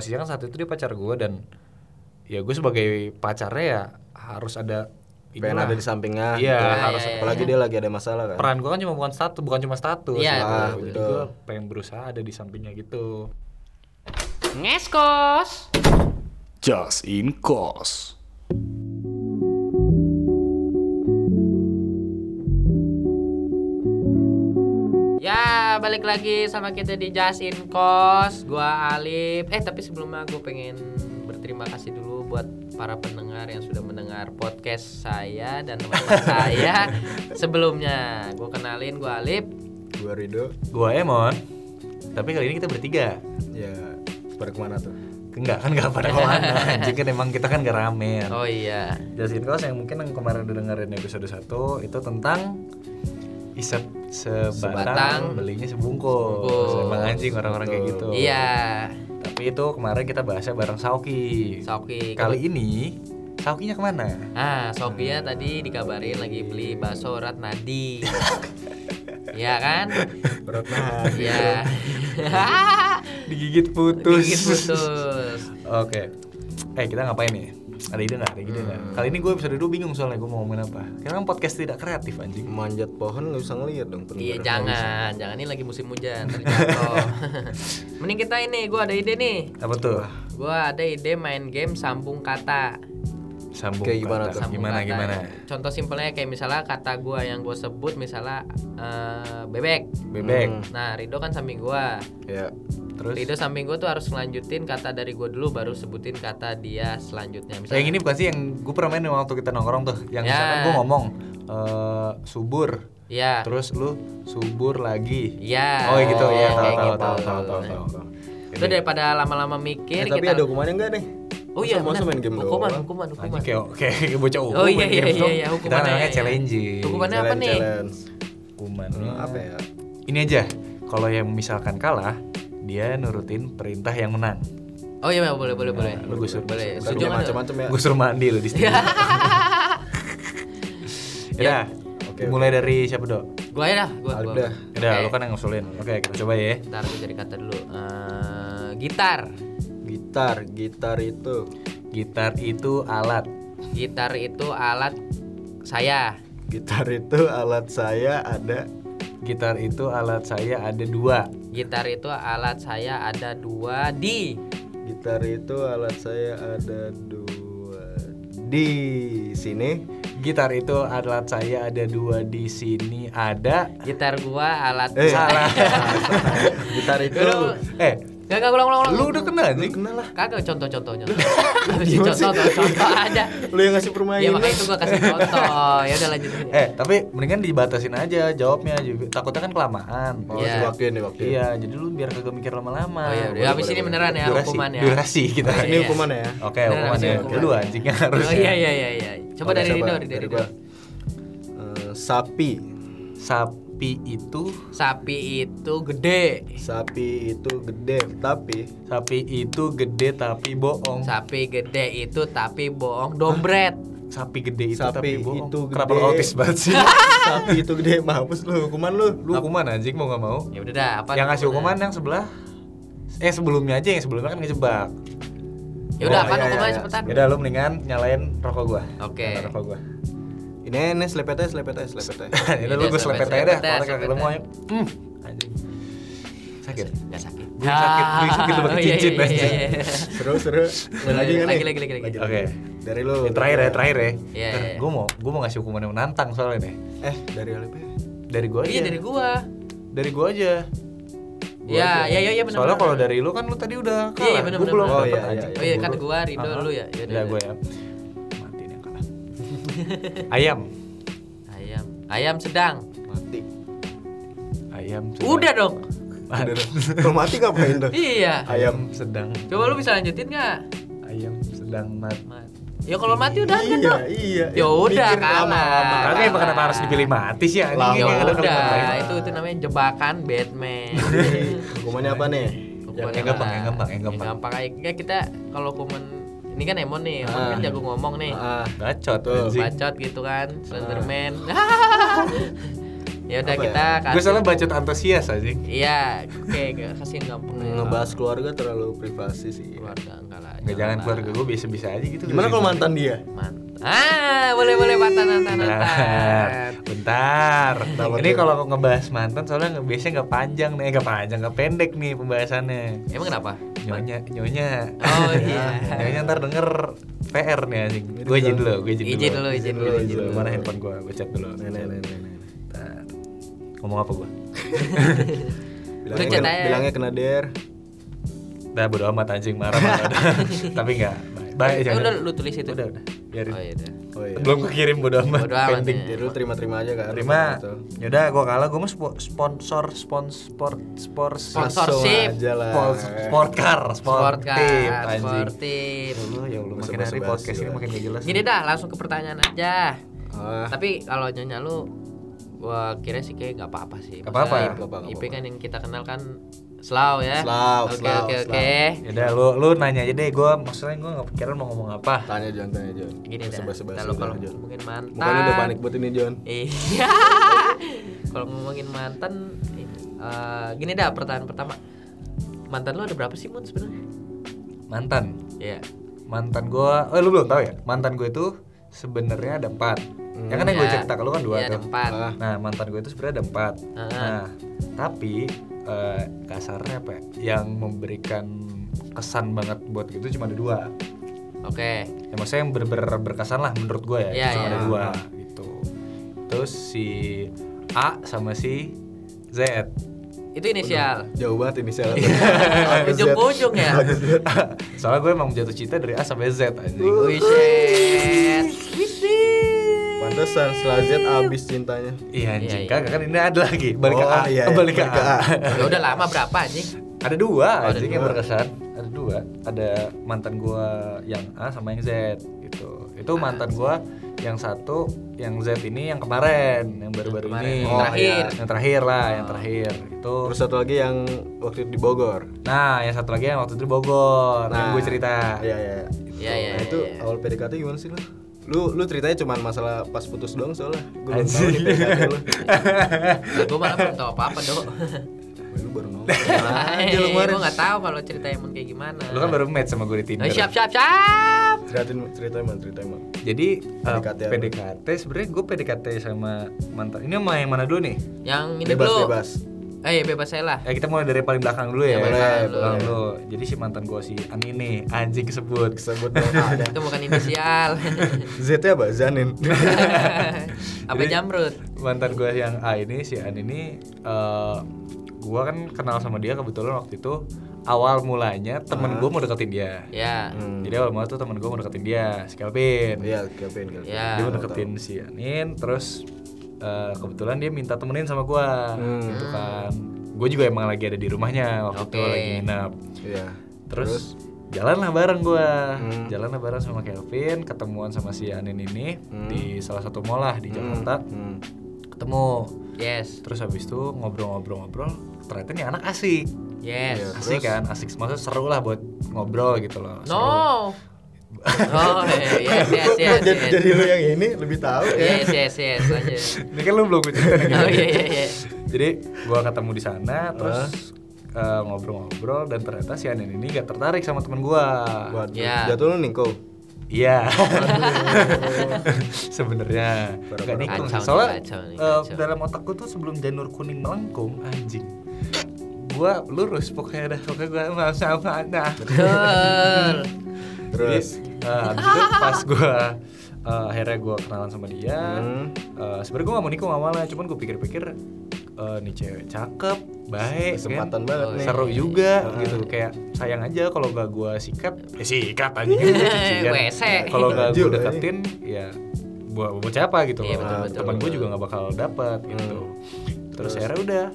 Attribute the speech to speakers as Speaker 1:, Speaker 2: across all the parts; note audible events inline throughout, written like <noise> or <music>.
Speaker 1: posisinya kan saat itu dia pacar gue dan ya gue sebagai pacarnya ya harus ada
Speaker 2: pengen
Speaker 1: inilah.
Speaker 2: ada di sampingnya
Speaker 1: Iya,
Speaker 2: gitu.
Speaker 1: harus
Speaker 3: ada.
Speaker 2: apalagi dia lagi ada masalah kan
Speaker 1: peran gue kan cuma bukan status bukan cuma status
Speaker 3: Iya,
Speaker 1: gitu.
Speaker 2: Ah,
Speaker 1: jadi
Speaker 2: betul.
Speaker 1: gue pengen berusaha ada di sampingnya gitu
Speaker 3: Ngeskos.
Speaker 4: Just in Cause.
Speaker 3: Ya, balik lagi sama kita di Jasin Kos. Gua Alif. Eh, tapi sebelumnya gue pengen berterima kasih dulu buat para pendengar yang sudah mendengar podcast saya dan teman-teman saya sebelumnya. Gue kenalin gue Alif.
Speaker 2: gue Rido
Speaker 1: gue Emon ya, tapi kali ini kita bertiga
Speaker 2: ya pada kemana tuh
Speaker 1: enggak kan enggak pada
Speaker 3: <laughs>
Speaker 1: kemana anjing kan emang kita kan gak rame
Speaker 3: Oh iya.
Speaker 1: jelasin kos yang mungkin yang kemarin udah dengerin episode 1 itu tentang isep sebatang,
Speaker 3: Sebatang.
Speaker 1: belinya sebungkus.
Speaker 3: Sebungkus.
Speaker 1: Emang anjing orang-orang kayak gitu.
Speaker 2: Betul.
Speaker 3: Iya.
Speaker 1: Tapi itu kemarin kita bahasnya bareng Sauki.
Speaker 3: Soki.
Speaker 1: Kali ini Saukinya kemana?
Speaker 3: Ah, Sophia tadi dikabarin lagi beli bakso urat nadi. Iya kan?
Speaker 2: berat nah
Speaker 3: Iya. <laughs> Gitu,
Speaker 1: Digigit putus.
Speaker 3: Gigit putus.
Speaker 1: Oke. Eh kita ngapain nih? Ada ide nggak? Ada ide nggak?
Speaker 3: Hmm.
Speaker 1: Kali ini gue episode 2 bingung soalnya gue mau ngomongin apa. Karena kan podcast tidak kreatif anjing.
Speaker 2: manjat pohon nggak bisa ngeliat dong
Speaker 3: Iya
Speaker 2: pendengar.
Speaker 3: jangan, jangan ini lagi musim hujan. ntar jatuh. <laughs> Mending kita ini, gua ada ide nih.
Speaker 1: Apa tuh?
Speaker 3: Gua ada ide main game sambung kata.
Speaker 1: Sambung.
Speaker 2: Kayak gimana
Speaker 1: kata.
Speaker 2: tuh?
Speaker 3: Sambung
Speaker 1: Gimana
Speaker 3: kata.
Speaker 1: gimana?
Speaker 3: Contoh simpelnya kayak misalnya kata gua yang gue sebut misalnya eh, bebek.
Speaker 1: Bebek.
Speaker 2: Hmm.
Speaker 3: Nah Rido kan samping gua.
Speaker 2: ya
Speaker 1: Terus.
Speaker 3: Rido samping gua tuh harus ngelanjutin kata dari gua dulu baru sebutin kata dia selanjutnya.
Speaker 1: Yang ini bukan sih yang gue pernah main waktu kita nongkrong tuh Yang
Speaker 3: Ya.
Speaker 1: misalkan gue ngomong eh, Subur
Speaker 3: Iya.
Speaker 1: Terus lu subur lagi
Speaker 3: Iya.
Speaker 1: Oh gitu ya tahu
Speaker 3: kayak
Speaker 1: tahu
Speaker 3: gitu.
Speaker 1: tahu tahu tahu tahu
Speaker 3: Itu daripada lama-lama mikir
Speaker 2: Eh, tapi
Speaker 3: kita
Speaker 2: ada hukumannya nggak nih
Speaker 3: Oh
Speaker 2: masa,
Speaker 3: iya,
Speaker 2: masa
Speaker 3: benar.
Speaker 2: main game
Speaker 3: hukuman,
Speaker 2: doang
Speaker 3: hukuman, hukuman.
Speaker 1: Anjing kayak kayak bocah
Speaker 3: Oh
Speaker 1: main
Speaker 3: iya iya
Speaker 1: game dong.
Speaker 3: iya iya
Speaker 1: Kita
Speaker 3: hukumannya.
Speaker 1: namanya
Speaker 3: iya.
Speaker 1: challenging
Speaker 3: Hukumannya apa
Speaker 2: Challenge,
Speaker 3: nih? Eh,
Speaker 2: challenge.
Speaker 1: Hukuman
Speaker 2: Hmm, apa ya
Speaker 1: Ini aja Kalau yang misalkan kalah Dia nurutin perintah yang menang
Speaker 3: Oh iya boleh boleh boleh.
Speaker 2: Nah,
Speaker 1: Lu gue suruh
Speaker 3: boleh.
Speaker 1: gue suruh-
Speaker 3: Setuju
Speaker 2: Hukumannya
Speaker 3: nggak? <laughs>
Speaker 2: macam-macam ya
Speaker 1: Gue suruh mandi lu di sini
Speaker 3: Iya.
Speaker 1: Ya
Speaker 2: Oke,
Speaker 1: Mulai dari siapa dok?
Speaker 3: Gua ya dah, gua.
Speaker 2: Alif
Speaker 3: gua.
Speaker 2: dah.
Speaker 1: Udah
Speaker 3: Oke.
Speaker 1: lu kan yang ngusulin Oke kita coba ya
Speaker 3: Ntar gua cari kata dulu. Eh, gitar.
Speaker 2: gitar gitar itu
Speaker 1: Gitar itu alat
Speaker 3: Gitar itu alat saya.
Speaker 2: gitar itu alat saya ada
Speaker 1: Gitar itu alat saya ada dua
Speaker 3: Gitar itu alat saya ada dua di.
Speaker 2: gitar itu alat saya ada dua di sini
Speaker 1: Gitar itu alat saya ada dua di sini ada
Speaker 3: Gitar gua alat.
Speaker 2: Eh,
Speaker 3: <laughs>
Speaker 1: salah.
Speaker 2: gitar itu
Speaker 3: Udah,
Speaker 1: eh,
Speaker 3: Gak gak ulang ulang ulang.
Speaker 1: lu udah kena
Speaker 2: lu
Speaker 1: nih?
Speaker 2: kenal lah
Speaker 3: Kagak contoh-contohnya. <laughs> contoh contoh aja.
Speaker 2: lu yang ngasih permainan
Speaker 3: Ya makanya itu gua kasih contoh. Ya udah lanjutin.
Speaker 1: Eh, tapi mendingan dibatasin aja jawabnya juga. Takutnya kan kelamaan.
Speaker 2: oh
Speaker 3: Iya.
Speaker 2: diwakilin diwakilin
Speaker 1: Iya, jadi lu biar kagak mikir lama-lama.
Speaker 3: Oh iya,
Speaker 2: boleh,
Speaker 3: udah habis
Speaker 2: boleh,
Speaker 3: ini
Speaker 2: boleh.
Speaker 3: beneran ya
Speaker 1: durasi,
Speaker 3: hukuman ya.
Speaker 1: durasi kita.
Speaker 3: Oh,
Speaker 2: ini
Speaker 3: iya.
Speaker 2: hukumannya ya
Speaker 1: Oke,
Speaker 3: Beneran,
Speaker 1: hukumannya.
Speaker 3: habis ini
Speaker 1: Lu
Speaker 3: hukuman.
Speaker 1: anjingnya harus.
Speaker 3: Oh iya iya iya iya. Coba
Speaker 2: Oke,
Speaker 3: dari Rido, dari
Speaker 2: dari
Speaker 3: Rido.
Speaker 2: gua. Eh, sapi
Speaker 1: Sapi itu,
Speaker 3: Sapi itu gede.
Speaker 2: sapi itu gede tapi
Speaker 1: sapi itu gede tapi bohong.
Speaker 3: Sapi gede itu tapi bohong dombret.
Speaker 1: Sapi gede itu
Speaker 2: Sapi
Speaker 1: tapi bohong.
Speaker 2: itu
Speaker 1: Kenapa
Speaker 2: gede.
Speaker 1: lu autis banget
Speaker 3: <laughs>
Speaker 1: sih?
Speaker 2: sapi itu gede mampus lu hukuman lu
Speaker 1: lu hukuman anjing mau gak mau?
Speaker 3: Ya udah dah, apa?
Speaker 1: yang ngasih hukuman yang sebelah eh sebelumnya aja yang sebelumnya kan ngejebak
Speaker 3: Ya udah,
Speaker 2: Oh,
Speaker 3: apa
Speaker 2: iya,
Speaker 3: hukumannya
Speaker 2: iya,
Speaker 3: cepetan?
Speaker 1: yaudah lu mendingan nyalain rokok gua
Speaker 3: Oke.
Speaker 1: Nyalain rokok gua
Speaker 2: ini ini selepet aja selepet aja selepet aja
Speaker 1: <laughs> yaudah lu
Speaker 3: Yaudah,
Speaker 1: gua selepet aja
Speaker 3: Iya,
Speaker 1: dah
Speaker 3: selepet,
Speaker 1: kalau
Speaker 3: selepet,
Speaker 1: kagak ketemu ayo Hmm, anjing sakit
Speaker 3: Gak sakit.
Speaker 1: Gue sakit, gue sakit tuh pakai
Speaker 3: <laughs> Oh, iya,
Speaker 1: cincin,
Speaker 3: iya, iya,
Speaker 1: anjing.
Speaker 3: iya, iya.
Speaker 2: seru seru Main lagi nggak
Speaker 3: Lagi
Speaker 2: nih
Speaker 3: lagi lagi lagi.
Speaker 1: oke
Speaker 2: dari lu
Speaker 1: Ini terakhir ya terakhir ya
Speaker 3: Iya,
Speaker 1: Ntar
Speaker 3: iya, iya.
Speaker 1: gua mau gua mau ngasih hukuman yang menantang soalnya nih
Speaker 2: eh dari Alip ya
Speaker 1: dari gua aja
Speaker 3: Iya dari gua.
Speaker 1: dari gua aja Gua
Speaker 3: Iya,
Speaker 1: aja.
Speaker 3: iya, iya, iya, bener,
Speaker 1: Soalnya
Speaker 3: bener,
Speaker 1: kalau
Speaker 3: bener.
Speaker 1: dari lu kan lu tadi udah
Speaker 3: Iya,
Speaker 1: kalah.
Speaker 3: bener,
Speaker 1: Gua
Speaker 3: bener,
Speaker 1: belum
Speaker 2: bener.
Speaker 1: dapet
Speaker 2: Oh, iya,
Speaker 1: anjing.
Speaker 2: iya,
Speaker 3: iya. Oh, iya, kan
Speaker 1: Buru.
Speaker 3: gua, Rido,
Speaker 1: Aha.
Speaker 3: lu ya. Iya,
Speaker 1: Udah
Speaker 3: iya,
Speaker 1: gua ya. Mati nih yang
Speaker 3: <laughs>
Speaker 1: kalah. Ayam.
Speaker 3: Ayam. Ayam sedang.
Speaker 2: mati
Speaker 1: Ayam. sedang.
Speaker 3: Udah dong.
Speaker 1: Aduh.
Speaker 2: kalau mati ngapain tuh
Speaker 3: Iya.
Speaker 1: Ayam sedang.
Speaker 3: Coba lu bisa lanjutin nggak?
Speaker 1: Ayam sedang mati.
Speaker 3: Mat- Ya kalau mati udah kan
Speaker 2: iya
Speaker 3: dong.
Speaker 2: iya
Speaker 3: Ya udah
Speaker 2: Mikir lama-lama.
Speaker 3: kalah.
Speaker 1: Kagak emang kenapa harus dipilih mati sih anjing
Speaker 2: Lama.
Speaker 3: Ya
Speaker 1: Yang ada kalimat lain.
Speaker 3: Ah, udah, itu itu namanya jebakan Batman.
Speaker 2: Jadi,
Speaker 1: <laughs>
Speaker 2: hukumannya apa nih
Speaker 3: Hukuman
Speaker 1: Yang
Speaker 3: Iya. apa?
Speaker 1: gampang, yang gampang, yang gampang.
Speaker 3: aja. Nggak, kita kalau hukuman ini kan Emon nih, Emon
Speaker 2: Ah.
Speaker 3: kan jago ngomong nih.
Speaker 2: ah
Speaker 1: Bacot
Speaker 2: Tuh,
Speaker 1: anjing. <laughs>
Speaker 3: Bacot gitu kan, Slenderman. Ya udah
Speaker 2: Apa
Speaker 3: kita
Speaker 1: Gue
Speaker 3: kasih.
Speaker 1: soalnya bacot antusias aja.
Speaker 3: Iya, oke, gak kasih yang gampang. aja.
Speaker 2: Ngebahas keluarga terlalu privasi sih.
Speaker 3: Iya. keluarga enggak lah.
Speaker 1: Nggak jangan
Speaker 3: lah.
Speaker 1: keluarga gue biasa-biasa aja gitu.
Speaker 2: Gimana kalau mantan dia?
Speaker 3: Mant- Ah, boleh boleh mantan mantan
Speaker 1: Bentar,
Speaker 3: mantan.
Speaker 1: bentar.
Speaker 2: Bentar,
Speaker 1: Ini
Speaker 2: bentar.
Speaker 1: kalau aku ngebahas mantan soalnya nggak- biasanya nggak panjang nih, Eh, nggak panjang, nggak pendek nih pembahasannya.
Speaker 3: Emang kenapa?
Speaker 1: Nyonya, nyonya.
Speaker 3: Oh, iya.
Speaker 1: <laughs> nyonya ntar denger PR nih anjing.
Speaker 2: Ini
Speaker 1: Gue izin
Speaker 2: dong.
Speaker 1: dulu, gue izin dulu.
Speaker 3: Izin dulu, izin dulu,
Speaker 2: izin dulu.
Speaker 1: Mana handphone gue? Gue chat dulu.
Speaker 2: Nih, nih, nih, nih, nih.
Speaker 1: Bentar. Ngomong apa gue?
Speaker 2: Bilangnya,
Speaker 3: chat
Speaker 2: kena,
Speaker 3: aja.
Speaker 2: bilangnya kena der.
Speaker 1: Udah bodo amat anjing marah-marah.
Speaker 3: <laughs>
Speaker 1: Tapi nggak. Bye. Bye.
Speaker 3: Eh,
Speaker 1: jangan.
Speaker 3: udah lu tulis itu.
Speaker 1: Udah, udah. Biarin.
Speaker 3: Oh iya udah.
Speaker 2: Oh iya.
Speaker 1: Belum kekirim bodo amat.
Speaker 3: Bodo amat,
Speaker 1: Pending.
Speaker 3: ya.
Speaker 2: Jadi lu terima-terima aja kan.
Speaker 1: terima
Speaker 2: Gitu.
Speaker 1: yaudah gua kalah gua mau spo- sponsor sponsor sponsor
Speaker 2: Langsung
Speaker 3: Sponsorship.
Speaker 2: aja lah.
Speaker 1: sport car
Speaker 3: Sport
Speaker 1: sport
Speaker 3: car,
Speaker 1: tip anjing
Speaker 3: sportif.
Speaker 1: Ya Allah, ya Allah makin
Speaker 2: Basa-basi
Speaker 1: hari podcast ini
Speaker 2: lah.
Speaker 1: makin gak jelas
Speaker 3: Gini dah, langsung ke pertanyaan aja.
Speaker 2: Ah,
Speaker 3: Tapi kalau nyonya lu gua kira sih kayak nggak apa-apa sih.
Speaker 1: Nggak apa-apa.
Speaker 3: Maksudnya
Speaker 2: Nggak apa-apa, nggak
Speaker 3: IP
Speaker 2: apa-apa.
Speaker 3: kan yang kita kenal kan Slow ya.
Speaker 2: Slow,
Speaker 3: Oke
Speaker 2: slow,
Speaker 3: oke
Speaker 2: slow.
Speaker 3: oke.
Speaker 1: yaudah lu lu nanya aja deh gua maksudnya gua nggak pikiran mau ngomong apa
Speaker 2: tanya Jon, tanya Jon.
Speaker 3: Gini dah.
Speaker 2: Basa-basi
Speaker 3: Kalau
Speaker 2: udah,
Speaker 3: kalau
Speaker 2: Jon.
Speaker 3: mungkin mantan.
Speaker 2: Mukanya udah panik buat ini Jon.
Speaker 3: Iya. <laughs> Kalau ngomongin mantan, eh, gini dah pertanyaan pertama. Mantan lu ada berapa sih Mun sebenarnya?
Speaker 1: mantan
Speaker 3: Iya.
Speaker 1: mantan gua eh lu belum tahu ya mantan gua itu sebenarnya ada empat ya kan yang gua
Speaker 3: Iya.
Speaker 1: cerita ke lu kan dua
Speaker 3: Iya, ada
Speaker 1: tuh
Speaker 3: empat.
Speaker 2: Ah.
Speaker 1: Nah mantan gue itu sebenarnya ada empat.
Speaker 3: Ah.
Speaker 1: Nah tapi eh, kasarnya apa? ya, Yang memberikan kesan banget buat itu cuma ada dua.
Speaker 3: Oke.
Speaker 1: Ya maksudnya yang bener-bener berkesan lah menurut gue ya.
Speaker 3: Iya,
Speaker 1: cuma
Speaker 3: iya.
Speaker 1: ada dua gitu. Terus si A sama si Z. <laughs>
Speaker 3: Itu inisial.
Speaker 2: Jauh banget ini saya.
Speaker 3: Ujung-ujung ya.
Speaker 1: Soalnya gue emang jatuh cinta dari A sampai Z anjing.
Speaker 2: Uh.
Speaker 3: Wih, shit.
Speaker 2: Pantesan setelah Z abis cintanya.
Speaker 1: Iya anjing,
Speaker 3: Iya, iya.
Speaker 1: kagak kan ini ada lagi. Balik ke
Speaker 2: Oh,
Speaker 1: A,
Speaker 2: iya, iya.
Speaker 1: balik ke
Speaker 2: Balik ke
Speaker 1: A.
Speaker 2: A.
Speaker 3: Ya udah lama berapa anjing?
Speaker 1: <laughs> Ada dua
Speaker 3: Oh, ada
Speaker 1: anjing yang
Speaker 3: dua.
Speaker 1: berkesan. Ada dua. Ada mantan gua yang A sama yang Z gitu. Itu
Speaker 3: Ah,
Speaker 1: mantan gua yang satu, yang Z ini yang kemarin, yang baru-baru
Speaker 3: Yang kemarin.
Speaker 1: ini. Iya,
Speaker 3: Yang terakhir. Ah.
Speaker 1: Yang terakhir lah, yang terakhir. Itu
Speaker 2: Terus satu lagi yang waktu itu di Bogor.
Speaker 1: Nah, yang satu lagi yang waktu itu di Bogor, yang
Speaker 2: Nah,
Speaker 1: gue cerita.
Speaker 2: Iya iya.
Speaker 3: Iya, iya,
Speaker 2: Nah, itu
Speaker 3: iya.
Speaker 2: awal PDKT gimana sih lu? Lu lu ceritanya cuma masalah pas putus doang soalnya. Gue belum tahu nih PDKT lu.
Speaker 3: Nah, gue malah belum tahu apa-apa, Dok. <laughs>
Speaker 2: Wah, Lu baru ngomong. Aja lu kemarin.
Speaker 3: gue Iya, nggak tahu kalau cerita emang kayak gimana.
Speaker 1: Lu kan baru match sama gue di Tinder.
Speaker 3: Eh, siap siap siap.
Speaker 2: Ceritain ceritain man, ceritain man.
Speaker 1: Jadi eh,
Speaker 2: PDKT
Speaker 1: PDKT,
Speaker 2: apa?
Speaker 1: sebenarnya gue PDKT sama mantan. Ini sama yang mana dulu nih?
Speaker 3: Yang ini
Speaker 2: Bebas
Speaker 3: dulu.
Speaker 2: bebas.
Speaker 3: Eh, bebas saya lah.
Speaker 1: Ya kita mulai dari paling belakang dulu ya.
Speaker 3: Ya, boleh,
Speaker 1: belakang
Speaker 2: boleh.
Speaker 1: dulu. Jadi si mantan gue si An ini anjing kesebut.
Speaker 2: Sebut dong A
Speaker 3: <laughs>
Speaker 2: dah.
Speaker 3: Itu bukan
Speaker 2: <laughs>
Speaker 3: inisial. <laughs>
Speaker 2: Z nya apa? Zanin.
Speaker 3: apa
Speaker 1: Jadi-
Speaker 3: jamrut?
Speaker 1: Mantan gue yang A ini si An ini eh gue kan kenal sama dia kebetulan waktu itu awal mulanya temen gue mau deketin dia.
Speaker 3: Ya.
Speaker 2: Hmm.
Speaker 1: Jadi awal mula tuh temen gue mau deketin dia, si Kelvin.
Speaker 2: Iya, Kevin Kevin.
Speaker 3: Ya.
Speaker 1: dia mau deketin si Anin terus eh, kebetulan dia minta temenin sama gua
Speaker 2: Hmm.
Speaker 1: gitu kan gue juga emang lagi ada di rumahnya waktu itu
Speaker 3: Oke.
Speaker 1: lagi nginep
Speaker 2: Iya.
Speaker 1: terus, jalan lah bareng gua
Speaker 2: Hmm.
Speaker 1: jalan lah bareng sama Kelvin ketemuan sama si Anin ini
Speaker 2: Hmm.
Speaker 1: di salah satu mall lah di Jakarta
Speaker 2: Hmm.
Speaker 1: ketemu
Speaker 3: Yes.
Speaker 1: terus habis itu ngobrol-ngobrol-ngobrol ternyata nih anak asik
Speaker 3: Yes.
Speaker 2: Iya.
Speaker 1: asik
Speaker 2: Terus?
Speaker 1: kan asik maksudnya seru lah buat ngobrol gitu loh Seru.
Speaker 3: No. Oh, yes yes
Speaker 2: <laughs> Kok- kok
Speaker 3: yes.
Speaker 2: jadi,
Speaker 3: yes.
Speaker 2: jadi lu yang ini lebih tahu ya.
Speaker 3: Yes yes yes. lanjut.
Speaker 1: ini kan lu belum gue ceritain yang
Speaker 3: <laughs>
Speaker 1: gimana.
Speaker 3: Oh iya iya iya.
Speaker 1: jadi gua ketemu di sana terus eh, ngobrol-ngobrol dan ternyata si Anen ini gak tertarik sama teman gua
Speaker 2: Waduh,
Speaker 3: Iya.
Speaker 2: jatuh lu nih kau.
Speaker 1: iya <laughs>
Speaker 3: <laughs>
Speaker 1: sebenarnya gak
Speaker 2: Parah, parah.
Speaker 1: dihitung sih.
Speaker 3: Kacau nih,
Speaker 1: soalnya
Speaker 3: kacau nih,
Speaker 1: eh,
Speaker 3: kacau.
Speaker 1: dalam otak gua tuh sebelum janur kuning melengkung anjing gua lurus pokoknya dah pokoknya gua mau sama nah
Speaker 3: Betul.
Speaker 2: Terus
Speaker 1: Jadi, eh, abis itu pas gua eh, akhirnya gua kenalan sama dia
Speaker 2: Hmm.
Speaker 1: eh, sebenarnya gua gak mau nikung awalnya cuman gua pikir-pikir eh, nih cewek cakep baik kan?
Speaker 2: kesempatan banget
Speaker 3: Oh,
Speaker 2: nih.
Speaker 1: seru juga gitu kayak sayang aja kalau gak gua sikat eh sikat aja <laughs>
Speaker 3: Wese.
Speaker 1: kalau gak
Speaker 2: Jujur,
Speaker 1: gua deketin ya buat buat siapa gitu
Speaker 3: Iya,
Speaker 1: loh
Speaker 3: betul, betul,
Speaker 1: teman gue
Speaker 3: betul.
Speaker 1: juga gak bakal dapat gitu terus akhirnya udah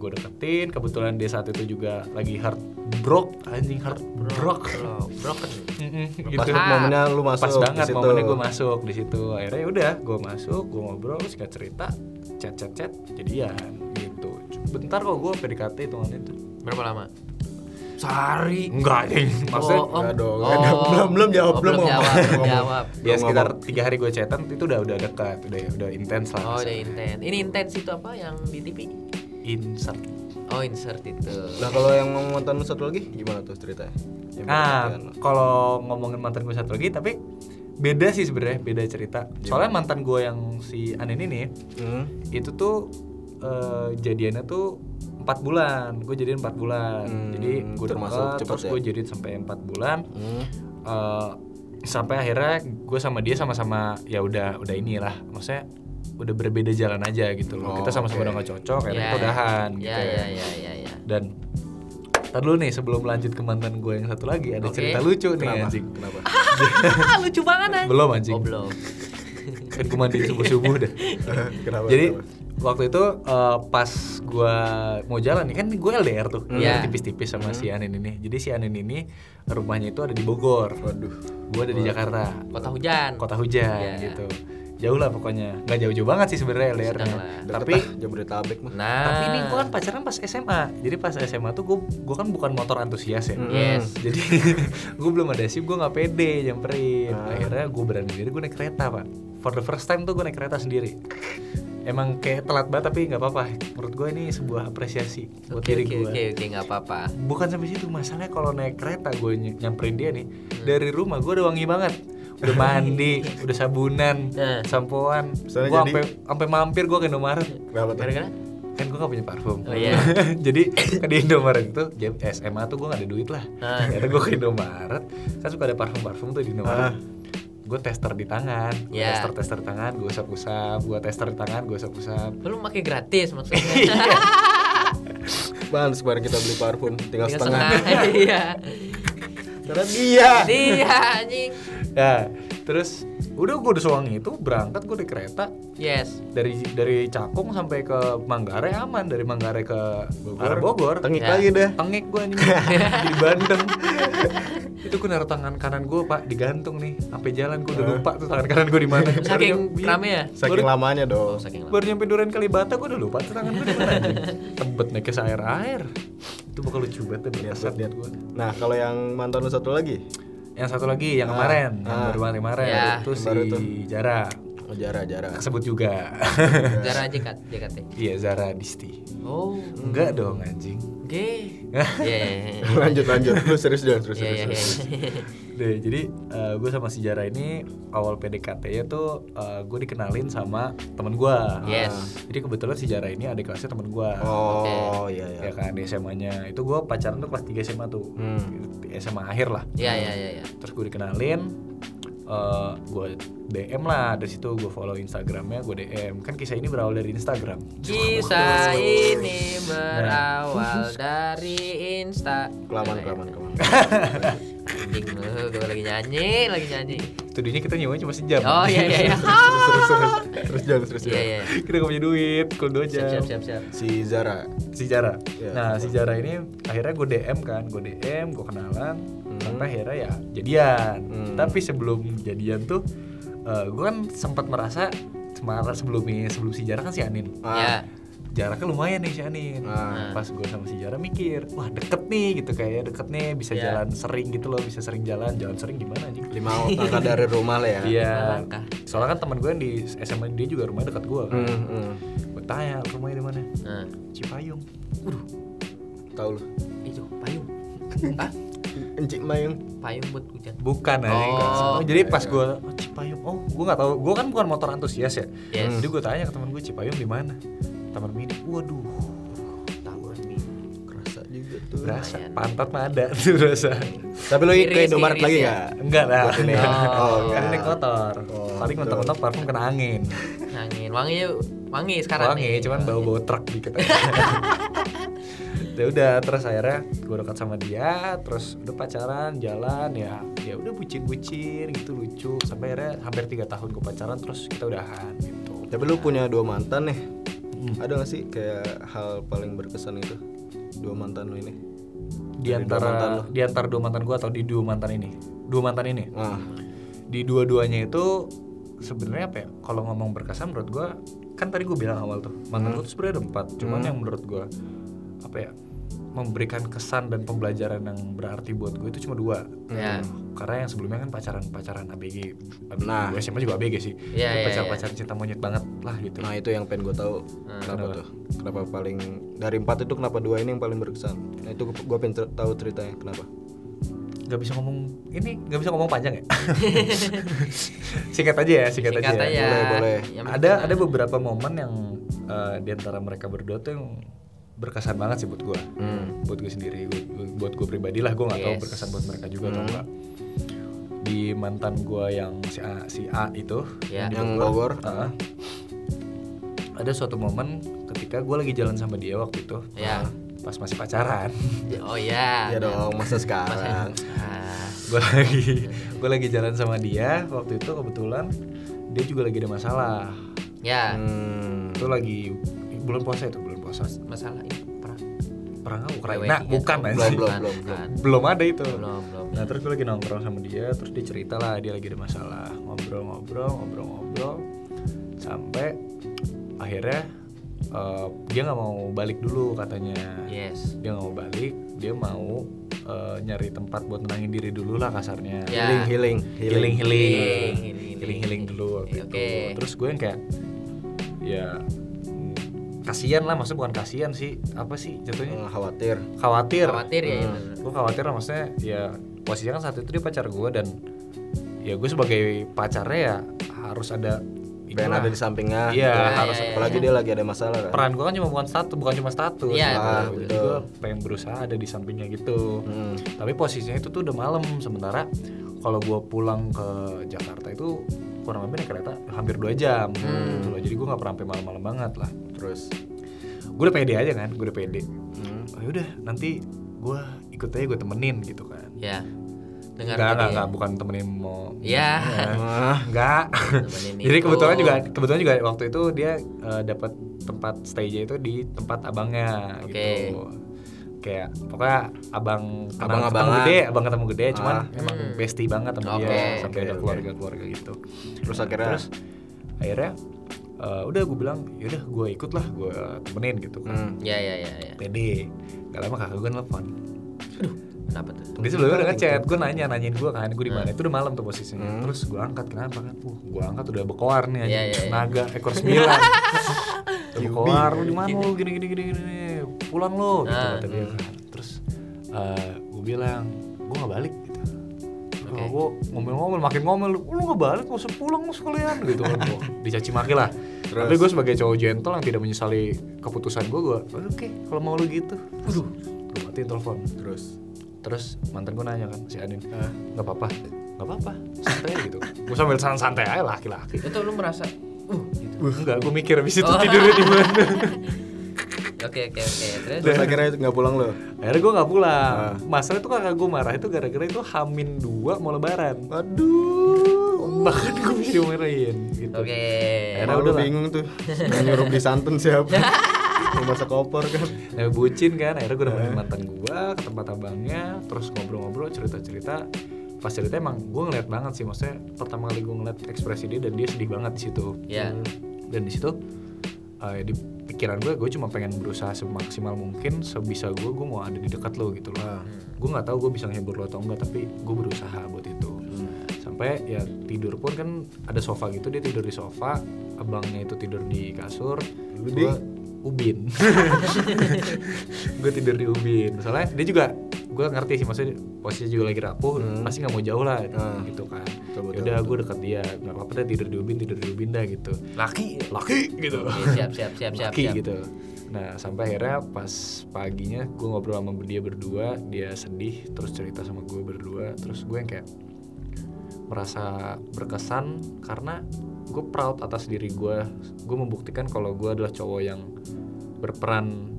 Speaker 1: gue deketin kebetulan dia saat itu juga lagi heartbroken anjing heartbroken
Speaker 3: Bro, broken.
Speaker 1: Mm-mm,
Speaker 2: Pas
Speaker 1: gitu
Speaker 3: Ah,
Speaker 2: momennya lu masuk
Speaker 1: pas banget
Speaker 2: di situ.
Speaker 1: momennya gue masuk di situ akhirnya ya udah gue masuk gue ngobrol singkat cerita chat chat chat jadian gitu bentar kok gue PDKT hitungannya itu
Speaker 3: Berapa lama? Sehari.
Speaker 1: Enggak anjing. <laughs> Maksudnya
Speaker 3: Oh, om.
Speaker 2: Enggak dong.
Speaker 3: Oh.
Speaker 2: Belum, belum jawab,
Speaker 3: Oh,
Speaker 2: belum
Speaker 3: belum
Speaker 2: ngomong.
Speaker 3: jawab, belum
Speaker 2: Ngomong.
Speaker 3: jawab.
Speaker 1: ya
Speaker 2: Belum
Speaker 1: sekitar tiga hari gue chatan itu udah udah dekat, udah udah intens lah.
Speaker 3: Oh, udah intens. Ini intens itu apa yang di TV?
Speaker 1: Insert.
Speaker 3: Oh, insert itu.
Speaker 2: Nah kalau yang mau mantan lu satu lagi gimana tuh ceritanya? Yang
Speaker 1: Nah,
Speaker 2: berkaitan lu.
Speaker 1: kalau ngomongin mantan gue satu lagi tapi beda sih sebenarnya, beda cerita. Soalnya mantan gue yang si Anin ini
Speaker 2: Hmm.
Speaker 1: itu tuh eh, jadiannya tuh empat bulan gue jadian empat bulan
Speaker 2: Hmm,
Speaker 1: jadi gue
Speaker 2: termasuk
Speaker 1: termasuk
Speaker 2: cepet
Speaker 1: terus
Speaker 2: ya?
Speaker 1: gue jadian sampai empat bulan
Speaker 2: Hmm.
Speaker 1: Eh, sampai akhirnya gue sama dia sama-sama ya udah udah inilah maksudnya udah berbeda jalan aja gitu loh
Speaker 2: Oh,
Speaker 1: kita sama-sama
Speaker 2: oke.
Speaker 1: udah gak cocok
Speaker 3: Ya,
Speaker 1: akhirnya kita udahan
Speaker 3: ya,
Speaker 1: gitu
Speaker 3: ya, ya, ya, ya.
Speaker 1: dan Ntar dulu nih sebelum lanjut ke mantan gue yang satu lagi ada
Speaker 3: Oke.
Speaker 1: cerita lucu nih
Speaker 2: Kenapa?
Speaker 1: anjing
Speaker 2: Kenapa?
Speaker 3: Ah, lucu banget anjing.
Speaker 1: belum anjing
Speaker 3: Oh, belum.
Speaker 1: kan gue mandi subuh subuh dah
Speaker 3: <laughs>
Speaker 2: Kenapa?
Speaker 1: Jadi
Speaker 2: Kenapa?
Speaker 1: waktu itu eh, pas gua mau jalan nih kan gue LDR tuh,
Speaker 3: Hmm.
Speaker 1: LDR
Speaker 3: Iya.
Speaker 1: tipis-tipis sama si Anin ini. Jadi si Anin ini rumahnya itu ada di Bogor,
Speaker 2: Waduh.
Speaker 1: gua ada di Jakarta,
Speaker 3: Kota hujan.
Speaker 1: kota hujan
Speaker 3: Iya.
Speaker 1: gitu. Jauh lah pokoknya, nggak jauh-jauh banget sih sebenarnya LDR. -nya.
Speaker 3: Sedang lah.
Speaker 2: Deket
Speaker 1: Tapi
Speaker 2: lah, Jabodetabek mah.
Speaker 3: Nah.
Speaker 1: tapi ini gua kan pacaran pas SMA. Jadi pas SMA tuh gua gua kan bukan motor antusias ya.
Speaker 2: Hmm.
Speaker 3: Yes.
Speaker 1: Jadi <laughs> gua belum ada SIM, gua nggak pede nyamperin.
Speaker 2: Ah.
Speaker 1: Akhirnya gua berani diri gua naik kereta, Pak. For the first time tuh gua naik kereta sendiri. Emang kayak telat banget tapi nggak apa-apa. Menurut gua ini sebuah apresiasi buat
Speaker 3: Oke,
Speaker 1: diri
Speaker 3: oke,
Speaker 1: gua.
Speaker 3: oke, oke, nggak apa-apa.
Speaker 1: Bukan sampai situ masalahnya kalau naik kereta gua ny- nyamperin dia nih
Speaker 3: Hmm.
Speaker 1: dari rumah gua udah wangi banget. Udah
Speaker 3: <laughs>
Speaker 1: mandi, udah sabunan,
Speaker 3: Nah.
Speaker 1: sampoan.
Speaker 2: Misalnya
Speaker 1: Gua
Speaker 2: jadi-
Speaker 1: sampai sampai mampir gua ke Indomaret.
Speaker 2: Kenapa tuh?
Speaker 3: Gara-gara?
Speaker 1: Kan gua gak punya parfum.
Speaker 3: Oh, iya.
Speaker 1: <laughs> Jadi ke di Indomaret itu ya, jam SMA tuh gua gak ada duit lah. <laughs>
Speaker 3: Ah.
Speaker 1: Akhirnya gue ke Indomaret, kan suka ada parfum-parfum tuh di Indomaret.
Speaker 2: Ah.
Speaker 1: Gue tester di tangan,
Speaker 3: Ya.
Speaker 1: tester tester di tangan, gue usap usap, gue tester di tangan, gue usap usap.
Speaker 3: Lu pakai gratis
Speaker 1: <laughs>
Speaker 3: maksudnya.
Speaker 1: Iya,
Speaker 2: Bang, kemarin kita beli parfum tinggal
Speaker 3: Tinggal
Speaker 2: setengah.
Speaker 1: <laughs>
Speaker 3: Iya.
Speaker 2: <laughs> Karena dia.
Speaker 3: Iya, anjing.
Speaker 1: Ya, terus udah gue udah suang itu berangkat gue di kereta
Speaker 3: Yes.
Speaker 1: dari dari Cakung sampai ke Manggarai aman dari Manggarai ke
Speaker 2: Bogor.
Speaker 1: arah Bogor.
Speaker 2: Tengik
Speaker 3: Ya.
Speaker 2: lagi dah.
Speaker 1: Tengik gue
Speaker 2: <laughs>
Speaker 1: anjing di Bandung. <laughs> itu gue naruh tangan kanan gue pak digantung nih sampai jalan gue udah
Speaker 2: Ah.
Speaker 1: lupa tuh tangan kanan gue di mana
Speaker 3: Saking
Speaker 1: Baru-
Speaker 3: rame ya?
Speaker 2: Saking lamanya
Speaker 3: Oh,
Speaker 2: dong.
Speaker 3: saking lama.
Speaker 1: Baru nyampe Duren Kalibata gue udah lupa tuh tangan gue di mana
Speaker 3: <laughs>
Speaker 1: anjing. Tebet nekes air-air Itu bakal lucu banget deh berkesan buat gue
Speaker 2: Nah, kalau yang mantan lu satu lagi?
Speaker 1: Yang satu lagi yang
Speaker 2: Ah,
Speaker 1: kemarin Yang
Speaker 2: ah.
Speaker 1: baru banget kemarin
Speaker 3: Ya,
Speaker 1: Itu
Speaker 2: yang
Speaker 1: si
Speaker 2: baru tuh.
Speaker 1: Zara
Speaker 2: Oh, Jara, Jara.
Speaker 1: Kesebut juga
Speaker 3: Jarak JKT, JKT.
Speaker 1: Iya Zara Disti
Speaker 3: Oh,
Speaker 1: Enggak dong anjing <laughs>
Speaker 3: gay. Iya, iya, iya.
Speaker 2: <laughs> lanjut, lanjut. Lu serius dong, serius, serius.
Speaker 3: Iya, iya,
Speaker 2: serius.
Speaker 3: iya. <laughs>
Speaker 1: Deh, jadi gue sama si Zara ini awal PDKT-nya tuh gue dikenalin sama temen gue
Speaker 3: Yes.
Speaker 1: Jadi kebetulan si Zara ini adik kelasnya temen gue
Speaker 2: Oh, iya,
Speaker 1: ya
Speaker 2: iya.
Speaker 1: kan di SMA-nya itu gue pacaran tuh kelas 3 SMA tuh
Speaker 2: Hmm.
Speaker 1: Di SMA akhir lah
Speaker 3: Iya, iya, iya, iya.
Speaker 1: terus gue dikenalin eh gue DM lah dari situ gue follow Instagramnya gue DM kan kisah ini berawal dari Instagram
Speaker 3: Kisah ini berawal dari Insta. Iya,
Speaker 2: Kelamaan, kelamaan, kelamaan.
Speaker 3: Anjing lu, gue lagi nyanyi, lagi nyanyi.
Speaker 1: studinya kita nyewanya cuma sejam
Speaker 3: Oh iya iya iya.
Speaker 2: Terus, terus, terus. Terus, Jon, terus,
Speaker 3: Iya
Speaker 2: Jon.
Speaker 3: iya.
Speaker 1: <laughs> kita gak punya duit kalau
Speaker 3: <laughs>
Speaker 1: dua
Speaker 3: Siap
Speaker 1: jam
Speaker 3: siap siap siap.
Speaker 2: Si Zara.
Speaker 1: si Jara
Speaker 2: Iya.
Speaker 1: nah si Jara ini akhirnya gue DM kan gue DM gue kenalan
Speaker 2: Hmm.
Speaker 1: sampai akhirnya ya jadian
Speaker 2: Hmm.
Speaker 1: tapi sebelum jadian tuh gue kan sempat merasa semalam sebelumnya sebelum si Jara kan si Anin
Speaker 3: Ya.
Speaker 2: Ah,
Speaker 1: jaraknya lumayan nih si Anin
Speaker 2: ah.
Speaker 1: pas gue sama si Jara mikir wah deket nih gitu kayaknya deket nih bisa
Speaker 3: Iya.
Speaker 1: jalan sering gitu loh bisa sering jalan jalan sering gimana anjing
Speaker 2: Lima langkah dari rumah lah ya.
Speaker 1: iya
Speaker 3: Langkah.
Speaker 1: soalnya kan temen gue yang di SMA dia juga rumahnya dekat gue kan
Speaker 2: Hmm, hmm.
Speaker 1: gue tanya rumahnya di mana
Speaker 3: Nah,
Speaker 1: Cipayung
Speaker 2: Tahu lu.
Speaker 3: itu payung. Ah,
Speaker 2: Encik Mayung.
Speaker 3: payung buat hujan.
Speaker 1: bukan anjing
Speaker 3: Oh.
Speaker 1: jadi pas gue oh, Cipayung oh gue nggak tahu gue kan bukan motor antusias ya
Speaker 3: Yes.
Speaker 1: jadi gue tanya ke temen gue Cipayung di mana Taman Mini waduh
Speaker 3: Taman
Speaker 2: Kerasa juga tuh.
Speaker 1: berasa
Speaker 3: Lumayan.
Speaker 1: pantat mah ada <laughs> tuh berasa
Speaker 2: Nah, Tapi lu
Speaker 3: Iris,
Speaker 2: ke Indomaret
Speaker 3: iris
Speaker 2: lagi
Speaker 3: ya.
Speaker 2: enggak?
Speaker 1: enggak lah
Speaker 2: Buat
Speaker 1: <laughs>
Speaker 2: ini.
Speaker 3: Oh,
Speaker 1: kan ini
Speaker 2: enggak.
Speaker 1: kotor
Speaker 2: Oh,
Speaker 1: paling mentok-mentok parfum kena angin
Speaker 3: Angin wangi yuk. wangi sekarang
Speaker 1: wangi
Speaker 3: nih.
Speaker 1: cuman bau bau truk dikit
Speaker 3: <laughs>
Speaker 1: aja. ya udah terus akhirnya gue dekat sama dia terus udah pacaran jalan ya ya udah bucin bucin gitu lucu sampai akhirnya hampir tiga tahun gue pacaran terus kita udahan gitu
Speaker 2: Tapi lu punya dua mantan nih. Ada gak sih kayak hal paling berkesan itu? Dua mantan lu ini.
Speaker 1: di
Speaker 2: Dari dua mantan
Speaker 1: antara
Speaker 2: lo.
Speaker 1: di antara dua mantan gue atau di dua mantan ini dua mantan ini
Speaker 2: Nah,
Speaker 1: di dua-duanya itu sebenarnya apa ya kalau ngomong berkesan menurut gue kan tadi gue bilang awal tuh mantan gue tuh sebenarnya ada empat cuman yang menurut gue apa ya memberikan kesan dan pembelajaran yang berarti buat gue itu cuma dua
Speaker 3: Ya.
Speaker 1: karena yang sebelumnya kan pacaran pacaran ABG
Speaker 2: Nah.
Speaker 1: gue SMA juga ABG sih
Speaker 3: Iya, iya,
Speaker 1: pacar pacaran cinta monyet banget lah gitu
Speaker 2: Nah itu yang pengen gue tahu Ah, kenapa tuh? Kenapa paling dari empat itu kenapa dua ini yang paling berkesan? Nah itu gue pengen cer- tahu ceritanya kenapa?
Speaker 1: nggak bisa ngomong ini nggak bisa ngomong panjang ya singkat aja ya singkat,
Speaker 3: Singkat
Speaker 1: aja, ya.
Speaker 3: aja.
Speaker 2: Boleh, boleh.
Speaker 3: Yang
Speaker 1: ada
Speaker 3: penting-
Speaker 1: ada beberapa momen yang eh, di antara mereka berdua tuh yang berkesan banget sih buat gue
Speaker 2: Hmm.
Speaker 1: buat gue sendiri gua- gua- buat gue pribadi lah gue nggak tahu
Speaker 3: Yes. Hmm.
Speaker 1: berkesan buat mereka juga atau enggak di mantan gue yang si A, si A itu
Speaker 3: Ya.
Speaker 1: di
Speaker 2: Yang Bogor.
Speaker 1: ah, ada suatu momen ketika gue lagi jalan sama dia waktu itu Ah,
Speaker 3: Ya.
Speaker 1: pas masih pacaran <laughs>
Speaker 3: Oh ya.
Speaker 2: Ya dong masa sekarang.
Speaker 3: Ah,
Speaker 1: gue lagi gue lagi jalan sama dia waktu itu kebetulan dia juga lagi ada masalah
Speaker 3: ya.
Speaker 2: Hmm.
Speaker 1: itu lagi bulan puasa itu bulan puasa
Speaker 3: Masalah ini perang.
Speaker 1: perang Ukraina
Speaker 3: WWI.
Speaker 1: Nah, bukan
Speaker 3: Oh,
Speaker 1: anjing.
Speaker 2: belum, belum,
Speaker 3: bukan.
Speaker 1: belum ada itu
Speaker 3: Belum, belum.
Speaker 1: Nah terus gue lagi nongkrong sama dia, terus dia cerita lah dia lagi ada masalah, ngobrol-ngobrol, ngobrol-ngobrol, sampai akhirnya eh, dia nggak mau balik dulu katanya,
Speaker 3: Yes.
Speaker 1: dia nggak mau balik, dia mau eh, nyari tempat buat nenangin diri dulu lah kasarnya,
Speaker 3: Ya.
Speaker 2: Healing, Iya.
Speaker 1: healing
Speaker 2: healing,
Speaker 3: Healing,
Speaker 1: healing
Speaker 3: healing,
Speaker 1: healing healing dulu waktu
Speaker 3: Oke.
Speaker 1: itu. terus gue yang kayak ya mm, kasihan lah maksudnya bukan kasihan sih apa sih jatuhnya
Speaker 2: Hmm, Khawatir.
Speaker 1: khawatir
Speaker 3: Khawatir ya.
Speaker 2: Hmm.
Speaker 3: bener.
Speaker 1: gue khawatir lah, maksudnya ya posisinya kan saat itu dia pacar gue dan ya gue sebagai pacarnya ya harus ada
Speaker 2: Pengen
Speaker 1: itulah.
Speaker 2: ada di sampingnya.
Speaker 1: Iya,
Speaker 2: Gitu.
Speaker 1: harus-
Speaker 2: Apalagi dia lagi ada masalah kan.
Speaker 1: peran gue kan cuma bukan status bukan cuma status
Speaker 3: Iya,
Speaker 1: Nah,
Speaker 2: betul.
Speaker 1: jadi gue pengen berusaha ada di sampingnya gitu
Speaker 2: Hmm.
Speaker 1: tapi posisinya itu tuh udah malam sementara kalau gue pulang ke Jakarta itu kurang lebih naik kereta hampir dua jam gitu loh jadi gue nggak pernah sampai malam-malam banget lah
Speaker 2: Terus.
Speaker 1: gue udah pede aja kan gue udah pede
Speaker 2: Hmm.
Speaker 1: oh yaudah nanti gue ikut aja gue temenin gitu kan
Speaker 3: Ya.
Speaker 1: Enggak,
Speaker 3: Dengar
Speaker 1: enggak,
Speaker 3: tadi.
Speaker 1: enggak, bukan temenin mau
Speaker 3: Ya.
Speaker 2: Ah,
Speaker 1: Enggak.
Speaker 3: Temenin
Speaker 1: Jadi
Speaker 3: itu.
Speaker 1: kebetulan juga kebetulan juga waktu itu dia eh, dapat tempat stage itu di tempat abangnya
Speaker 3: Oke.
Speaker 1: gitu. Kayak pokoknya abang abang ketemu
Speaker 2: Abang-abangan.
Speaker 1: gede, abang ketemu gede cuman
Speaker 2: Ah.
Speaker 1: emang
Speaker 3: Hmm.
Speaker 1: bestie banget sama
Speaker 3: Oke.
Speaker 1: dia sampai
Speaker 2: Oke,
Speaker 1: ada
Speaker 2: oke.
Speaker 1: keluarga-keluarga gitu.
Speaker 2: Terus akhirnya
Speaker 1: Terus akhirnya eh, udah gue bilang yaudah gue ikut lah gue temenin gitu kan.
Speaker 2: Hmm.
Speaker 3: Ya, ya, ya, ya.
Speaker 1: Pede. Gak lama kakak gue nelfon.
Speaker 3: Kenapa tuh?
Speaker 1: Dia sebelumnya udah ngechat, gue nanya nanyain gue kan, gue di mana? Itu udah malam tuh posisinya.
Speaker 2: Hmm.
Speaker 1: Terus gue angkat kenapa kan? Uh, gue angkat udah bekoar nih
Speaker 3: Iya,
Speaker 1: anjing.
Speaker 3: iya, iya.
Speaker 1: Naga ekor
Speaker 3: <laughs>
Speaker 1: sembilan. Udah bekoar lu di mana lu gini gini gini gini. Pulang lu gitu
Speaker 3: Ah,
Speaker 1: kata dia kan. Terus gue bilang, gue gak balik gitu. Kalau
Speaker 3: Oke.
Speaker 1: gue ngomel-ngomel, makin ngomel, lu "Lu gak balik, gak usah pulang lu sekalian gitu kan gue. Dicaci maki lah.
Speaker 2: Terus?
Speaker 1: Tapi gue sebagai cowok gentle yang tidak menyesali keputusan gue, gue oke kalau mau lu gitu. Waduh, gue matiin telepon
Speaker 2: terus.
Speaker 1: terus mantan gue nanya kan si Anin nggak apa-apa nggak apa-apa santai gitu gue sambil san- santai aja laki-laki
Speaker 3: Itu lu merasa uh gitu.
Speaker 1: enggak gue mikir habis itu
Speaker 3: Oh.
Speaker 1: tidurnya di mana
Speaker 3: Oke, oke, oke. Terus
Speaker 2: Terus akhirnya nggak pulang lo.
Speaker 1: <laughs> akhirnya gue nggak pulang
Speaker 2: Ah.
Speaker 1: masalah itu kakak gue marah itu gara-gara itu hamin dua mau lebaran
Speaker 2: Aduh.
Speaker 1: bahkan gue bisa dimarahin gitu
Speaker 3: Oke.
Speaker 1: Akhirnya
Speaker 2: Karena udah
Speaker 1: udah lah.
Speaker 2: bingung tuh. Yang nyuruh beli santun siapa? Yang masak koper kan.
Speaker 1: Nah, bucin kan akhirnya gue
Speaker 2: Eh.
Speaker 1: nemenin mantan gue ke tempat abangnya terus ngobrol-ngobrol cerita-cerita pas cerita emang gue ngeliat banget sih maksudnya pertama kali gue ngeliat ekspresi dia dan dia sedih banget di situ
Speaker 3: Ya.
Speaker 1: dan di situ eh, di pikiran gue gue cuma pengen berusaha semaksimal mungkin sebisa gue gue mau ada di dekat lo gitu loh
Speaker 2: Ah.
Speaker 1: gue nggak tahu gue bisa ngehibur lo atau enggak tapi gue berusaha buat itu sampai ya tidur pun kan ada sofa gitu dia tidur di sofa abangnya itu tidur di kasur
Speaker 2: Lu
Speaker 1: gue
Speaker 2: di?
Speaker 1: ubin <laughs> gue tidur di ubin soalnya dia juga gue ngerti sih maksudnya posisi juga lagi rapuh
Speaker 2: Hmm.
Speaker 1: pasti nggak mau jauh lah
Speaker 2: Ah.
Speaker 1: gitu kan
Speaker 2: Betul, betul,
Speaker 1: udah gue dekat dia nggak apa-apa deh tidur di ubin tidur di ubin dah gitu
Speaker 3: Laki.
Speaker 1: laki gitu
Speaker 2: Iya,
Speaker 3: Oke, siap, siap, siap, siap.
Speaker 1: Laki
Speaker 3: siap.
Speaker 1: gitu nah sampai akhirnya pas paginya gue ngobrol sama dia berdua dia sedih terus cerita sama gue berdua terus gue yang kayak merasa berkesan karena gue proud atas diri gue gue membuktikan kalau gue adalah cowok yang berperan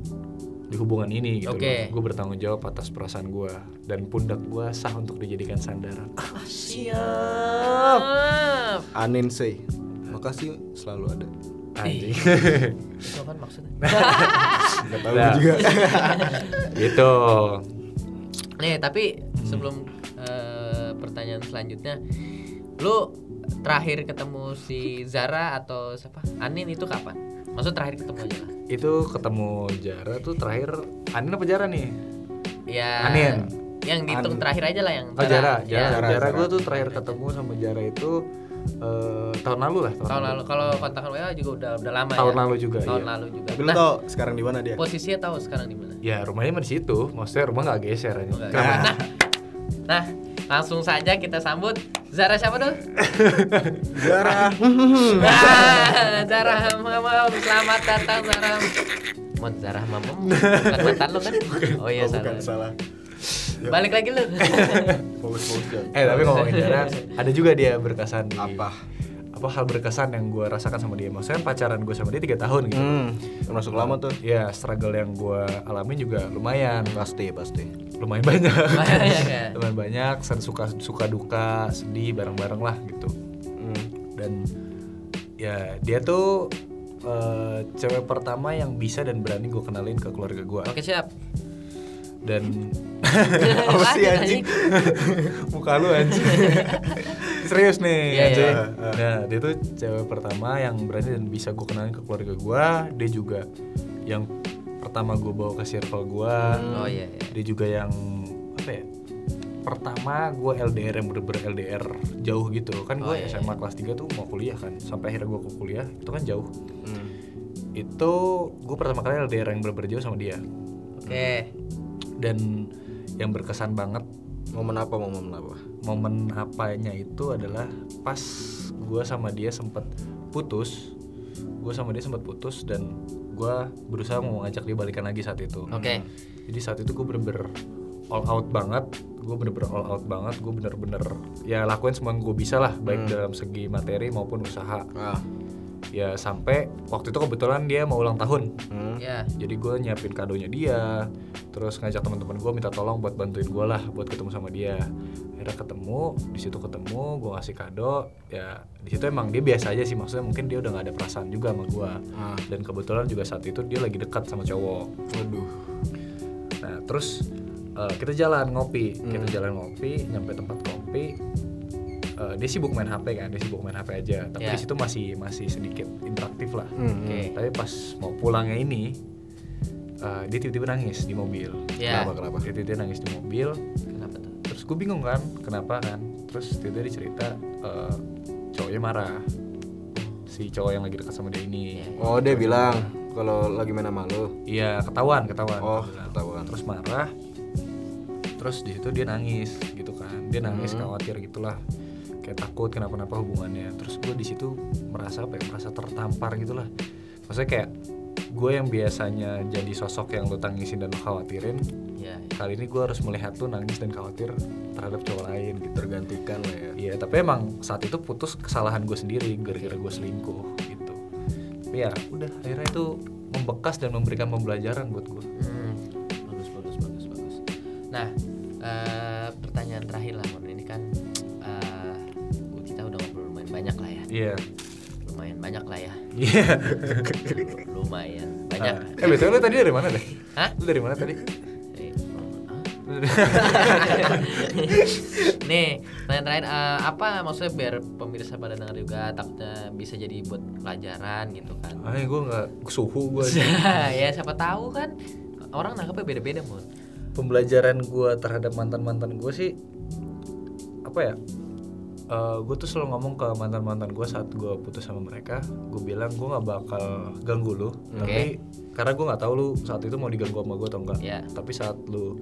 Speaker 1: di hubungan ini gitu
Speaker 3: Oke.
Speaker 1: gue bertanggung jawab atas perasaan gue dan pundak gue sah untuk dijadikan
Speaker 3: <laughs>
Speaker 1: sandaran
Speaker 3: Siap.
Speaker 2: Anin say. Makasih selalu ada.
Speaker 1: anjing
Speaker 3: Itu kan maksudnya?
Speaker 2: Gak tahu
Speaker 1: Nah.
Speaker 2: juga. <laughs>
Speaker 1: gitu
Speaker 3: Nih, tapi sebelum eh, pertanyaan selanjutnya, lu terakhir ketemu si Zara atau siapa? Anin itu kapan? Maksud terakhir ketemu aja lah.
Speaker 1: Itu ketemu Jara tuh terakhir Anin apa Jara nih?
Speaker 3: Ya.
Speaker 1: Anin.
Speaker 3: Yang dihitung
Speaker 1: An-
Speaker 3: terakhir aja lah yang.
Speaker 1: Oh Jara, Jara,
Speaker 3: Ya,
Speaker 1: Jara,
Speaker 2: Jara, Jara.
Speaker 1: gue tuh terakhir ketemu sama Jara itu eh, tahun lalu lah, tahun,
Speaker 3: Tahun lalu Ya. kalau kontak WA juga udah udah lama ya.
Speaker 1: Tahun lalu juga,
Speaker 3: Tahun
Speaker 1: iya.
Speaker 3: lalu juga.
Speaker 2: Tapi lu
Speaker 3: Nah,
Speaker 2: tau sekarang di mana dia?
Speaker 3: posisinya tahu sekarang di mana?
Speaker 1: Ya rumahnya mah di situ, maksudnya rumah nggak geser aja.
Speaker 3: Enggak. Nah, nah, langsung saja kita sambut Zara siapa dulu?
Speaker 2: Zara.
Speaker 3: Ah, Zara Mamam, selamat datang Zara. Mon Zara Mamam, bukan mantan lo kan? Oh iya
Speaker 2: Oh, bukan
Speaker 3: salah.
Speaker 2: salah.
Speaker 3: Balik lagi lu.
Speaker 2: Fokus-fokus ya.
Speaker 1: Eh tapi ngomongin <laughs> Jara, ada juga dia berkesan di
Speaker 2: Apa?
Speaker 1: apa hal berkesan yang gue rasakan sama dia. Maksudnya pacaran gue sama dia tiga tahun gitu.
Speaker 2: Hmm, termasuk lama tuh.
Speaker 1: Ya struggle yang gue alami juga lumayan,
Speaker 2: Pasti, pasti.
Speaker 1: lumayan banyak.
Speaker 3: Banyak ya?
Speaker 1: <laughs> lumayan banyak, suka suka duka, sedih bareng-bareng lah gitu.
Speaker 2: Hmm.
Speaker 1: Dan ya dia tuh eh, cewek pertama yang bisa dan berani gue kenalin ke keluarga gue.
Speaker 3: Oke siap.
Speaker 1: Dan <laughs>
Speaker 3: Apa
Speaker 2: sih, anjing?
Speaker 1: muka lu
Speaker 3: <laughs>
Speaker 1: anjing serius nih
Speaker 3: Iya, iya.
Speaker 1: anjing. nah dia tuh cewek pertama yang berani dan bisa gue kenalin ke keluarga gue dia juga yang pertama gue bawa ke circle gue
Speaker 3: Oh iya. iya.
Speaker 1: dia juga yang apa ya pertama gue LDR yang bener-bener LDR jauh gitu kan gue
Speaker 3: Oh, iya,
Speaker 1: SMA kelas 3 tuh mau kuliah kan sampai akhirnya gue ke kuliah itu kan jauh
Speaker 2: Hmm.
Speaker 1: itu gue pertama kali LDR yang bener-bener jauh sama dia
Speaker 3: Oke.
Speaker 1: dan yang berkesan banget
Speaker 2: Momen apa? Momen apa?
Speaker 1: momen apanya itu adalah pas gue sama dia sempet putus gue sama dia sempet putus dan gue berusaha mau ngajak dia balikan lagi saat itu
Speaker 3: Oke.
Speaker 1: jadi saat itu gue bener-bener all out banget gue bener-bener all out banget gue bener-bener ya lakuin semua yang gue bisa lah baik dalam segi materi maupun usaha
Speaker 2: Ah.
Speaker 1: ya sampai waktu itu kebetulan dia mau ulang tahun
Speaker 2: Hmm.
Speaker 3: Ya.
Speaker 1: jadi gue nyiapin kadonya dia terus ngajak teman-teman gue minta tolong buat bantuin gue lah buat ketemu sama dia akhirnya ketemu di situ ketemu gue ngasih kado ya di situ emang dia biasa aja sih maksudnya mungkin dia udah nggak ada perasaan juga sama gue
Speaker 2: Ah.
Speaker 1: dan kebetulan juga saat itu dia lagi dekat sama cowok
Speaker 2: Waduh.
Speaker 1: nah terus eh, kita jalan ngopi kita jalan ngopi nyampe tempat kopi Eh, dia sibuk main hp kan dia sibuk main hp aja tapi
Speaker 3: Ya.
Speaker 1: di situ masih masih sedikit interaktif lah
Speaker 3: Oke.
Speaker 1: tapi pas mau pulangnya ini eh, dia tiba-tiba nangis di mobil
Speaker 3: Ya.
Speaker 2: Kenapa kenapa?
Speaker 1: dia tiba-tiba nangis di mobil
Speaker 3: Kenapa tuh?
Speaker 1: terus gue bingung kan kenapa kan terus tiba-tiba dia cerita eh, cowoknya marah si cowok yang lagi dekat sama dia ini
Speaker 2: Oh, dia bilang kalau lagi main sama lu.
Speaker 1: iya ketahuan ketahuan
Speaker 2: Oh,
Speaker 1: Dia bilang.
Speaker 2: ketahuan.
Speaker 1: terus marah terus di situ dia nangis gitu kan dia nangis khawatir gitulah kayak takut kenapa-napa hubungannya terus gue di situ merasa apa ya merasa tertampar gitulah maksudnya kayak gue yang biasanya jadi sosok yang lo tangisin dan lo khawatirin
Speaker 3: Ya.
Speaker 1: kali ini gue harus melihat lo nangis dan khawatir terhadap cowok lain gitu
Speaker 2: Tergantikan lah ya.
Speaker 1: Iya, tapi emang saat itu putus kesalahan gue sendiri gara-gara gue selingkuh gitu. Tapi ya udah akhirnya itu membekas dan memberikan pembelajaran buat gue.
Speaker 3: Hmm, bagus bagus bagus bagus. Nah, eh, pertanyaan terakhir lah Mon. Ini kan eh, kita udah ngobrol lumayan banyak lah ya.
Speaker 1: Iya. <laughs>
Speaker 3: Lumayan banyak lah ya.
Speaker 1: Iya.
Speaker 3: lumayan banyak.
Speaker 1: Eh btw lu tadi dari mana deh? <laughs>
Speaker 3: Hah?
Speaker 1: Lu dari mana tadi?
Speaker 3: Eh, Nih, pertanyaan terakhir eh, apa maksudnya biar pemirsa pada dengar juga takutnya bisa jadi buat pelajaran gitu kan.
Speaker 1: Ah, gue nggak suhu gue.
Speaker 3: <laughs> ya siapa tahu kan orang nangkepnya beda-beda mon.
Speaker 1: <laughs> Pembelajaran gue terhadap mantan mantan gue sih apa ya? gue tuh selalu ngomong ke mantan mantan gue saat gue putus sama mereka, gue bilang gue nggak bakal ganggu lu, tapi karena gue nggak tahu lu saat itu mau diganggu sama gue atau enggak.
Speaker 3: Ya.
Speaker 1: tapi saat lu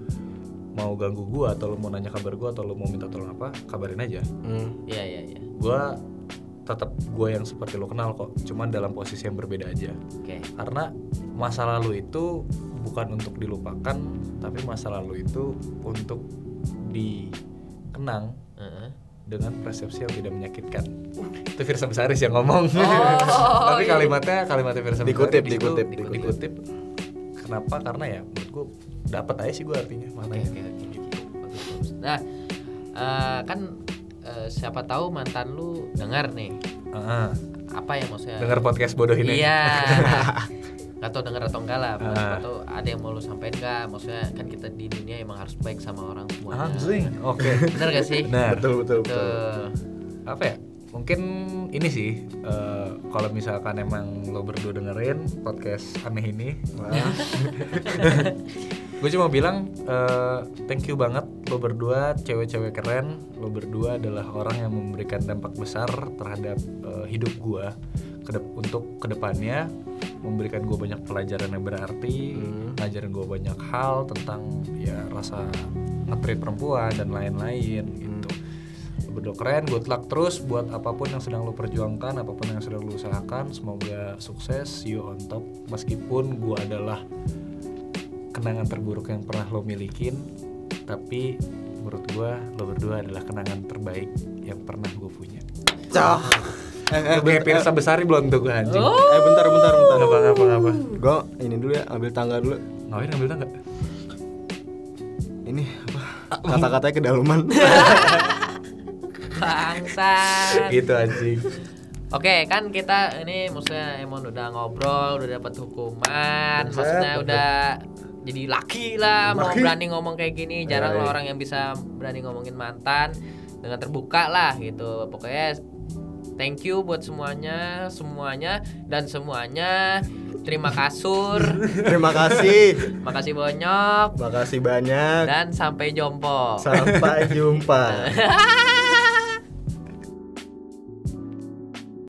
Speaker 1: mau ganggu gua atau lu mau nanya kabar gua atau lu mau minta tolong apa kabarin aja
Speaker 2: Hmm.
Speaker 3: Iya iya iya.
Speaker 1: gua tetap gua yang seperti lo kenal kok cuman dalam posisi yang berbeda aja
Speaker 3: Oke.
Speaker 1: karena masa lalu itu bukan untuk dilupakan tapi masa lalu itu untuk dikenang
Speaker 3: Heeh.
Speaker 1: dengan persepsi yang tidak menyakitkan itu Firsa Besaris yang ngomong
Speaker 3: Oh,
Speaker 1: <laughs> tapi
Speaker 3: iya.
Speaker 1: kalimatnya kalimatnya Firsa Besaris
Speaker 2: Dikutip,
Speaker 1: di situ,
Speaker 2: dikutip,
Speaker 1: dikutip,
Speaker 2: dikutip.
Speaker 1: kenapa karena ya menurut gua dapat aja sih gua artinya
Speaker 3: Oke
Speaker 1: makanya
Speaker 3: oke oke. Bagus, bagus. Nah, eh, kan eh, siapa tahu mantan lu dengar nih
Speaker 1: Ah,
Speaker 3: apa yang maksudnya?
Speaker 1: dengar podcast bodoh ini <laughs>
Speaker 3: Iya. Gak tau denger atau enggak lah
Speaker 1: Ah.
Speaker 3: Atau ada yang mau lu sampein gak Maksudnya kan kita di dunia emang harus baik sama orang semuanya <laughs>
Speaker 1: anjing oke
Speaker 3: Bener gak sih?
Speaker 1: Nah,
Speaker 2: Betul betul betul.
Speaker 3: Tuh.
Speaker 1: apa ya? mungkin ini sih eh, kalau misalkan emang lo berdua dengerin podcast aneh ini gue cuma bilang eh, thank you banget lo berdua cewek-cewek keren lo berdua adalah orang yang memberikan dampak besar terhadap eh, hidup gue kedep- untuk kedepannya memberikan gue banyak pelajaran yang berarti
Speaker 2: Hmm.
Speaker 1: ngajarin gue banyak hal tentang ya rasa nge perempuan dan lain-lain gitu Lo berdua keren good luck terus buat apapun yang sedang lo perjuangkan apapun yang sedang lo usahakan semoga sukses see you on top meskipun gue adalah kenangan terburuk yang pernah lo milikin tapi menurut gua lo berdua adalah kenangan terbaik yang pernah gue punya
Speaker 2: Cah. Eh, eh,
Speaker 1: lo punya pirsa besari belum tuh gue anjing
Speaker 3: Oh.
Speaker 2: eh bentar bentar bentar.
Speaker 1: apa apa apa
Speaker 2: Gue ini dulu ya ambil tangga dulu.
Speaker 1: ngapain ngambil tangga
Speaker 2: Ini apa? Kata-katanya kedalaman.
Speaker 3: Bangsat.
Speaker 1: gitu anjing
Speaker 3: Oke, kan kita ini maksudnya Emon udah ngobrol, udah dapat hukuman,
Speaker 1: Buset,
Speaker 3: maksudnya
Speaker 1: buset.
Speaker 3: udah jadi laki lah, mau
Speaker 1: Laki.
Speaker 3: berani ngomong kayak gini, jarang
Speaker 1: Hai.
Speaker 3: loh orang yang bisa berani ngomongin mantan dengan terbuka lah gitu. Pokoknya thank you buat semuanya, semuanya dan semuanya. Terima kasur,
Speaker 2: Terima kasih.
Speaker 3: makasih banyak
Speaker 2: Makasih banyak.
Speaker 3: dan sampai jompo.
Speaker 2: Sampai jumpa.
Speaker 3: <laughs>